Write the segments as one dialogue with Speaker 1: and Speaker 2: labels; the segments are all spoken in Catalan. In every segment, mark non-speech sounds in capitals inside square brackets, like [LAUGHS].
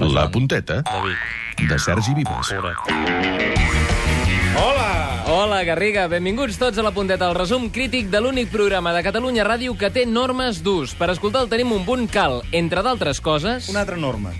Speaker 1: La punteta
Speaker 2: David,
Speaker 1: de Sergi Vives.
Speaker 2: correcte.
Speaker 3: Hola, Garriga. Benvinguts tots a la punteta, el resum crític de l'únic programa de Catalunya Ràdio que té normes d'ús. Per escoltar-lo tenim un punt cal, entre d'altres coses...
Speaker 4: Una altra norma.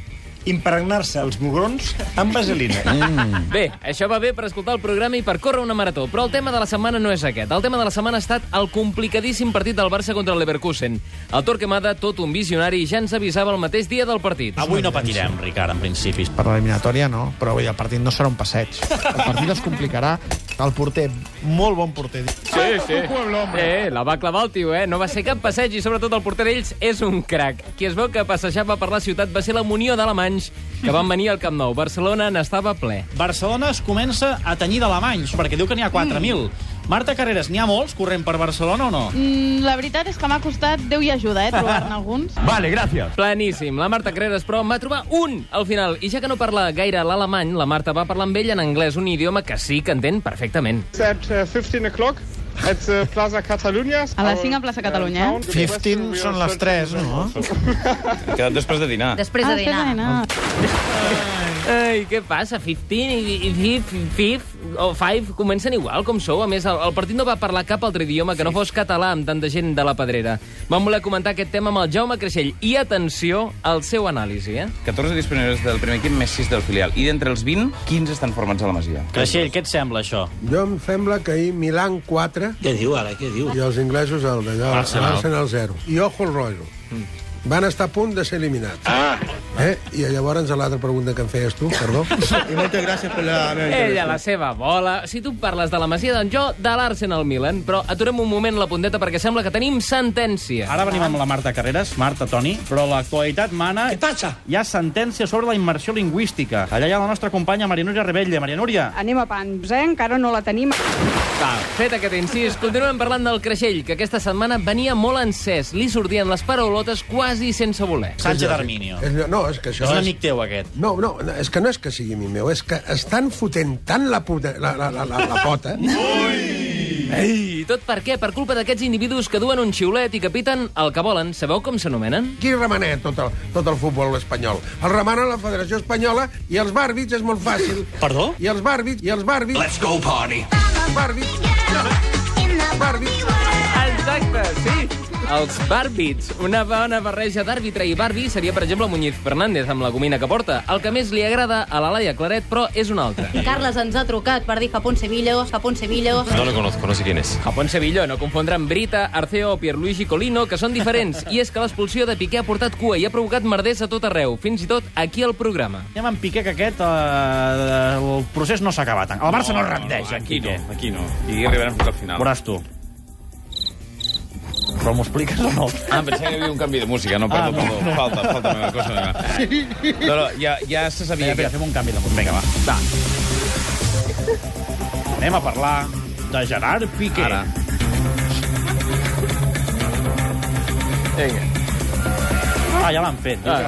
Speaker 4: Impregnar-se els mugrons amb vaselina.
Speaker 3: Mm. Bé, això va bé per escoltar el programa i per córrer una marató, però el tema de la setmana no és aquest. El tema de la setmana ha estat el complicadíssim partit del Barça contra el Leverkusen. El Torquemada, tot un visionari, ja ens avisava el mateix dia del partit.
Speaker 2: Avui no patirem, Ricard, en principi.
Speaker 5: Per l'eliminatòria no, però vull dir, el partit no serà un passeig. El partit es complicarà. El porter, molt bon porter.
Speaker 3: Sí, sí. Eh, la va clavar el tio, eh? No va ser cap passeig i sobretot el porter d'ells és un crac. Qui es veu que passejava per la ciutat va ser la munió d'alemanys que van venir al Camp Nou. Barcelona n'estava ple.
Speaker 6: Barcelona es comença a tenyir d'alemanys, perquè diu que n'hi ha 4.000. Mm. Marta Carreras, n'hi ha molts corrent per Barcelona o no?
Speaker 7: Mm, la veritat és que m'ha costat Déu i ajuda, eh, [LAUGHS] trobar-ne alguns.
Speaker 3: Planíssim. La Marta Creres, però, en va trobar un al final. I ja que no parla gaire l'alemany, la Marta va parlar amb ell en anglès, un idioma que sí que entén perfectament.
Speaker 8: It's at uh, 15 o'clock at uh, Plaza
Speaker 7: [LAUGHS]
Speaker 8: Catalunya.
Speaker 7: A les cinc a plaça Catalunya, eh?
Speaker 5: 15 són les 3, no?
Speaker 9: Quedat després de dinar.
Speaker 10: Després de dinar.
Speaker 7: dinar.
Speaker 3: Ai, què passa? 15 i, i, i fif, o five comencen igual, com sou. A més, el, el partit no va parlar cap altre idioma que no fos català amb tanta gent de la Pedrera. Vam voler comentar aquest tema amb el Jaume Creixell. I atenció al seu anàlisi, eh?
Speaker 9: 14 disponibles del primer equip, més 6 del filial. I d'entre els 20, 15 estan formats a la Masia.
Speaker 6: Creixell, què et sembla, això?
Speaker 11: Jo em sembla que ahir Milan 4... Què diu ara, què diu? I els inglesos el d'allò,
Speaker 2: Arsenal.
Speaker 11: Arsenal 0. I ojo al rotllo. Van estar a punt de ser eliminats. Mm. Ah. Eh? I llavors l'altra pregunta que em feies tu, [LAUGHS] perdó.
Speaker 3: Ella, la seva bola. Si tu parles de la Masia d'en Jo, de l'Arsenal Milan. Però aturem un moment la punteta perquè sembla que tenim sentència.
Speaker 6: Ara venim amb la Marta Carreras, Marta, Toni, però l'actualitat mana... Què passa? Hi ha sentència sobre la immersió lingüística. Allà hi ha la nostra companya Maria Núria Rebelle. Maria Núria,
Speaker 7: Anem a pans, eh? Encara no la tenim.
Speaker 3: Va, fet aquest incís, continuem parlant del Creixell, que aquesta setmana venia molt encès. Li sortien les paraulotes quasi sense voler.
Speaker 6: Sánchez Arminio.
Speaker 11: És, no, és que
Speaker 6: És
Speaker 11: això
Speaker 6: un
Speaker 11: és...
Speaker 6: amic teu, aquest.
Speaker 11: No, no, és que no és que sigui mi meu, és que estan fotent tant la, puta, la, la, la, la, la pota... [LAUGHS]
Speaker 3: I tot per què? Per culpa d'aquests individus que duen un xiulet i que piten el que volen. Sabeu com s'anomenen?
Speaker 11: Qui remena tot el, tot el futbol espanyol? El remena la Federació Espanyola i els bàrbits és molt fàcil.
Speaker 6: Perdó?
Speaker 11: I els bàrbits, i els bàrbits... Let's go party! Bàrbits, bàrbits...
Speaker 3: Exacte, sí. Els bàrbits. Una bona barreja d'àrbitre i barbi seria, per exemple, Muñiz Fernández, amb la gomina que porta. El que més li agrada a la Laia Claret, però és un altre.
Speaker 10: Carles ens ha trucat per dir Japón Sevilla, Japón Sevilla...
Speaker 9: No lo conozco, no sé quién es.
Speaker 3: Japón Sevilla, no confondre amb Brita, Arceo o Pierluigi Colino, que són diferents. I és que l'expulsió de Piqué ha portat cua i ha provocat merders a tot arreu, fins i tot aquí al programa.
Speaker 6: Anem amb Piqué, que aquest... Eh, el procés no s'ha acabat. El Barça no, es rendeix, en
Speaker 9: Aquí no,
Speaker 6: Piqué.
Speaker 9: aquí no. I arribarem fins al final.
Speaker 6: Veuràs tu. Però m'ho expliques o no?
Speaker 9: Ah, pensava que hi havia un canvi de música. No, perdó,
Speaker 6: Ah, no,
Speaker 9: perdó.
Speaker 6: no.
Speaker 9: Falta, falta meva cosa meva. No, no, ja, ja se sabia que...
Speaker 6: Vinga, vinga, fem un canvi de música. Vinga, va. va. Anem a parlar de Gerard Piqué.
Speaker 9: Ara.
Speaker 3: Vinga.
Speaker 6: Ah, ja l'han fet. Ah.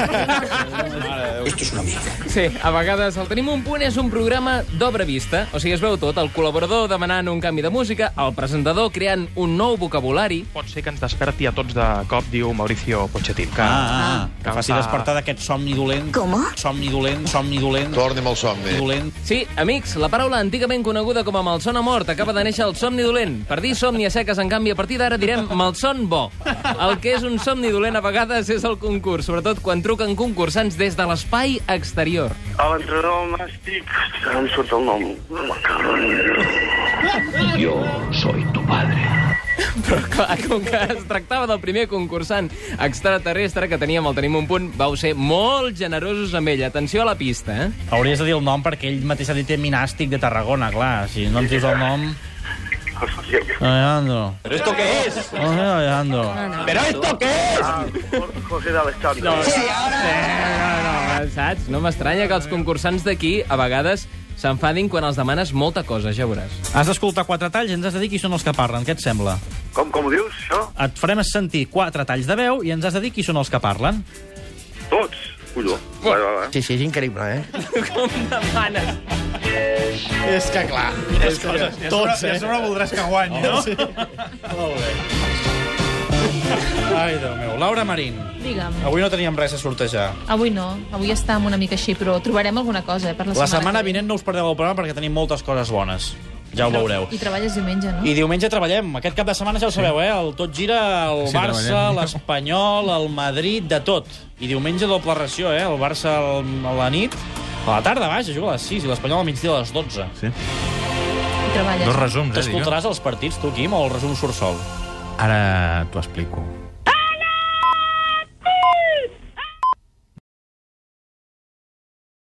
Speaker 3: Sí, a vegades el Tenim un punt és un programa d'obra vista, o sigui, es veu tot, el col·laborador demanant un canvi de música, el presentador creant un nou vocabulari...
Speaker 12: pot ser que ens desperti a tots de cop, diu Mauricio Pochettino. Que...
Speaker 6: Ah, ah, que faci despertar d'aquest somni dolent. Com? Somni dolent, somni dolent. Torna'm al somni. Dolent.
Speaker 3: Sí, amics, la paraula antigament coneguda com a malson a mort acaba de néixer el somni dolent. Per dir somni a seques, en canvi, a partir d'ara direm malson bo. El que és un somni dolent a vegades és el concurs, sobretot quan truquen concursants des de l'espai exterior.
Speaker 8: A l'entrenador nàstic... Ara em surt el nom.
Speaker 3: Però clar, com que es tractava del primer concursant extraterrestre que teníem al Tenim un punt, vau ser molt generosos amb ell. Atenció a la pista, eh?
Speaker 6: Hauries de dir el nom perquè ell mateix ha dit minàstic de Tarragona, clar. Si no ens dius el nom... Alejandro.
Speaker 9: Però esto què és?
Speaker 6: Oh, Alejandro.
Speaker 9: Però esto què és?
Speaker 8: José de l'Estadi. No,
Speaker 3: Sí, no, no, saps? No m'estranya que els concursants d'aquí a vegades s'enfadin quan els demanes molta cosa, ja veuràs.
Speaker 6: Has d'escoltar quatre talls i ens has de dir qui són els que parlen. Què et sembla?
Speaker 8: Com, com ho dius, això?
Speaker 6: Et farem sentir quatre talls de veu i ens has de dir qui són els que parlen.
Speaker 8: Tots. Colló. Va, va, va.
Speaker 5: Sí, sí, és increïble, eh?
Speaker 3: Com demanes?
Speaker 5: És que clar.
Speaker 6: Tots, eh? I a sobre voldràs que guanyi, no? Sí. Ai, Déu meu. Laura Marín,
Speaker 11: Digue'm.
Speaker 6: avui no teníem res a sortejar.
Speaker 11: Avui no, avui està una mica així, però trobarem alguna cosa eh, per la,
Speaker 6: La setmana vinent no us perdeu el programa perquè tenim moltes coses bones. Ja ho veureu.
Speaker 11: I treballes diumenge, no?
Speaker 6: I diumenge treballem. Aquest cap de setmana ja ho sabeu, eh? El tot gira el
Speaker 11: Sí,
Speaker 6: Barça,
Speaker 11: treballem.
Speaker 6: l'Espanyol, el Madrid, de tot. I diumenge doble ració, eh? El Barça al- a la nit, a la tarda, vaja, juga a les 6 i l'Espanyol al migdia a les 12. Sí.
Speaker 11: I treballes.
Speaker 9: eh,
Speaker 6: T'escoltaràs els partits, tu, Quim, o el resum surt sol?
Speaker 9: Ara t'ho explico.